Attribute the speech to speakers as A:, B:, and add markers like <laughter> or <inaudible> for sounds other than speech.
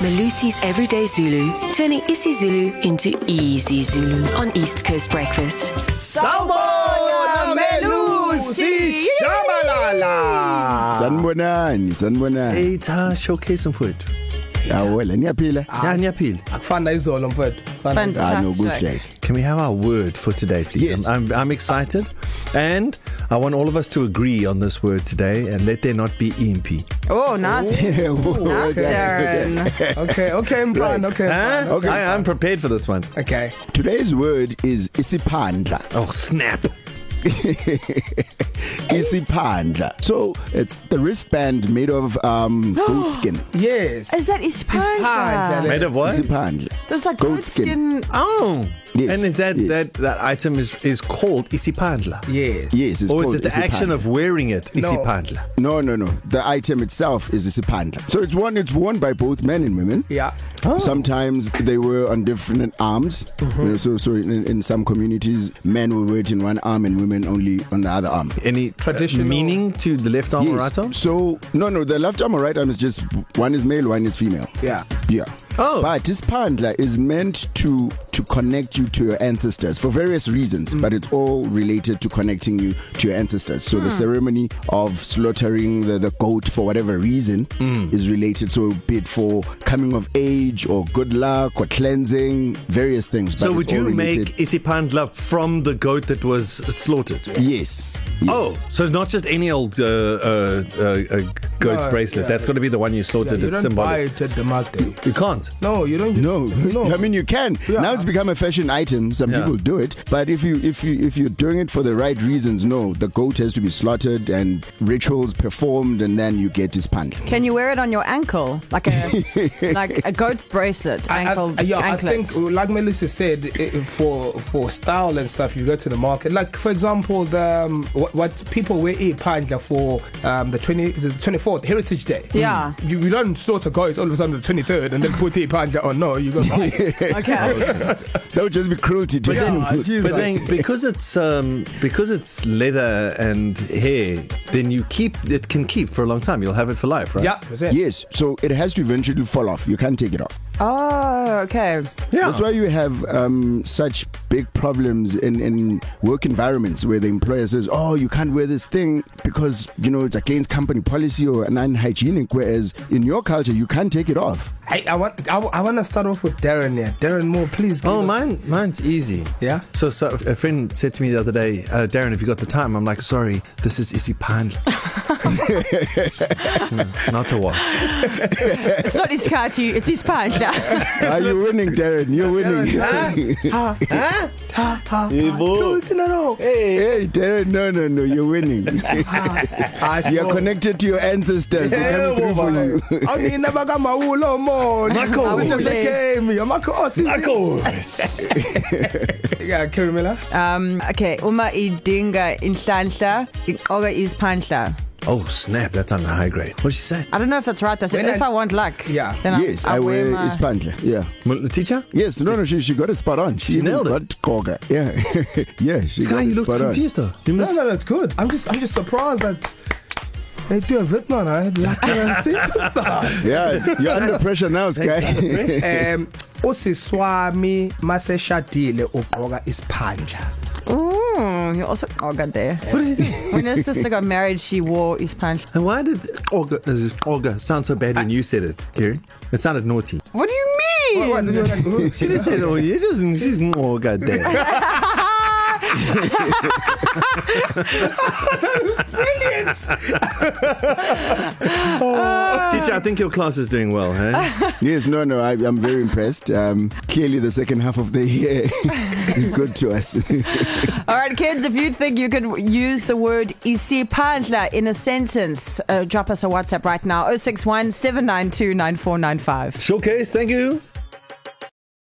A: Malusi's Everyday Zulu, turning isiZulu into easy Zulu on East Coast Breakfast.
B: Sawubona Melusi Shabalala.
C: sanibonani sanibonani
B: Etha showcase mfowethu.
C: awela niyaphila
B: Ya niyaphila.
D: akufana izolo mfethu Kufana izolo.
C: Ah, nokuhle <laughs>
B: Can we have our word for today please?
C: Yes.
B: I'm, I'm I'm excited and I want all of us to agree on this word today and let there not be E impi.
E: Oh, nice. Nice, Darren.
D: okay okay mfana okay
B: Huh?
D: mfana,
B: Okay. I, I'm prepared for this one.
D: okay
C: today's word is isiphandla
B: Oh snap.
C: isiphandla so it's the wristband made of um goat skin
D: yes
E: Is that
D: Ispandla.
E: Ispandla?
B: Made of what?
C: isiphandla
E: There's like
C: Goat
E: goat skin.
B: Oh.
C: Yes,
B: Yes. And is that
C: yes.
B: yes. that that item is is called isipandla?
D: yes
C: yes it's
B: Or Oh, is
C: called
B: it the action
C: isiphandla.
B: of wearing it
D: No.
B: isipandla? No.
C: no no no the item itself is isiphandla so it's one it's worn by both men and women
D: yeah
C: Oh. Sometimes they were on different arms. Mm-hmm. You know, so, so in, in some communities, men will wear it in one arm and women only on the other arm.
B: Any
D: Traditional-
B: traditional meaning to the left arm yes. or right arm?
C: So no, no, the left arm or right arm is just one is male, one is female.
D: yeah
C: Yeah.
B: Oh.
C: But this pandla is meant to to connect you to your ancestors for various reasons, mm. but it's all related to connecting you to your ancestors. So mm.
B: Hmm.
C: the ceremony of slaughtering the, the goat for whatever reason mm. is related. So be it for coming of age or good luck or cleansing, various things.
B: So
C: but
B: would
C: it's all
B: you
C: related.
B: make isipandla from the goat that was slaughtered?
C: Yes. yes.
B: Oh, so it's not just any old uh, uh, uh, uh, goat's
D: No,
B: no, bracelet.
D: yeah.
B: Yeah, That's going to be the one you
D: yeah,
B: slaughtered.
D: you
B: Yeah, it's
D: don't buy
B: symbolic.
D: it at the market
B: You can't.
D: <laughs> no you don't
B: <laughs>
C: No, no. <laughs> I mean you can. Yeah.
D: Yeah.
C: Now it's become a fashion item. Some yeah.
B: Yeah.
C: people do it, but if you if you if you're doing it for the right reasons, no. The goat has to be slaughtered and rituals performed, and then you get his pan.
E: Can you wear it on your ankle, like a like a goat bracelet, <laughs> ankle
D: I, I, yeah,
E: anklet?
D: I think, uh, like Melissa said, i- i- for for style and stuff, you go to the market. Like for example, the um, what, what people wear a panda for um, the twenty is it the twenty fourth Heritage Day.
E: Yeah.
D: you, you don't sort of go. It's all of a sudden the twenty third, and then put a panda on. No, you go. Right.
E: okay.
C: That would just be cruelty to
D: Yeah,
C: animals.
D: geez,
B: But
D: like-
B: then, because it's um, because it's leather and hair, then you keep it can keep for a long time. You'll have it for life, right?
D: yeah, that's it.
C: Yes, so it has to eventually fall off. You can't take it off.
E: Oh, okay.
B: yeah.
C: That's why you have um, such big problems in, in work environments where the employer says, "Oh, you can't wear this thing because you know it's against company policy or an unhygienic." Whereas in your culture, you can't take it off.
D: Hey, I want I, I want to start off with Darren here. Darren Moore, please. give
B: Oh,
D: us-
B: mine, mine's easy.
D: Yeah?
B: So, so a friend said to me the other day, uh, Darren, have you got the time? I'm like, sorry, this is
D: <laughs>
B: isipandla. it's not a watch.
E: It's not his car to you, it's his punch now.
C: Are you winning, Darren? Ah, You're winning. <laughs> Darren,
D: Two weeks in a row.
C: hey, Darren, no, no, no,
B: <laughs>
C: you're winning.
B: Ah,
D: I
C: You're connected to your ancestors. They're coming through for you.
D: I mean, never got my wool on, man.
B: Makhosi.
D: Just a game. Your Makhosi. Yeah, Kerry Miller.
E: <laughs> Um, okay. Uma idinga inhlanhla, iqoka ispandla.
B: Oh, snap, that's on the high grade. What'd she say?
E: I don't know if that's right. I said
D: When
E: if
D: I-
E: I want luck,
D: Yeah.
E: then
C: Yes,
E: I,
C: I wear
E: my-
C: Ispandla. Yeah.
B: Well, Teacher?
C: Yes, no, no, she, she got it spot on. She,
B: She
C: even
B: nailed it.
C: got Koga. <laughs> Yeah. yeah, she
B: Sky,
C: got
B: you
C: it
B: look
C: spot on.
B: confused though. You
D: No,
B: must.
D: no, that's good. I'm just, I'm just surprised that they do a Vietnam. I had luck and stuff.
C: Yeah, you're under pressure now, Sky.
D: Um, usiswami maseshadile ugqoka isiphandla
E: Ooh, you also iqoka
D: <laughs>
E: there. What did you say? When his sister got married, she wore ispandla.
B: And why did Olga, uh, Olga sound so bad when you said it, Gary? It sounded naughty.
E: What do you mean?
D: What- what- you're like, "Ooh,
B: She just said, "Oh, you just she's Olga there." Teacher, I think your class is doing well, huh?
C: <laughs> yes, no, no, I, I'm very impressed. Um, clearly, the second half of the year <laughs> is good to us. <laughs>
E: All right, kids, if you think you could use the word isipandla in a sentence, oh uh, drop us a WhatsApp right now 061 792 9495.
B: Showcase, thank you.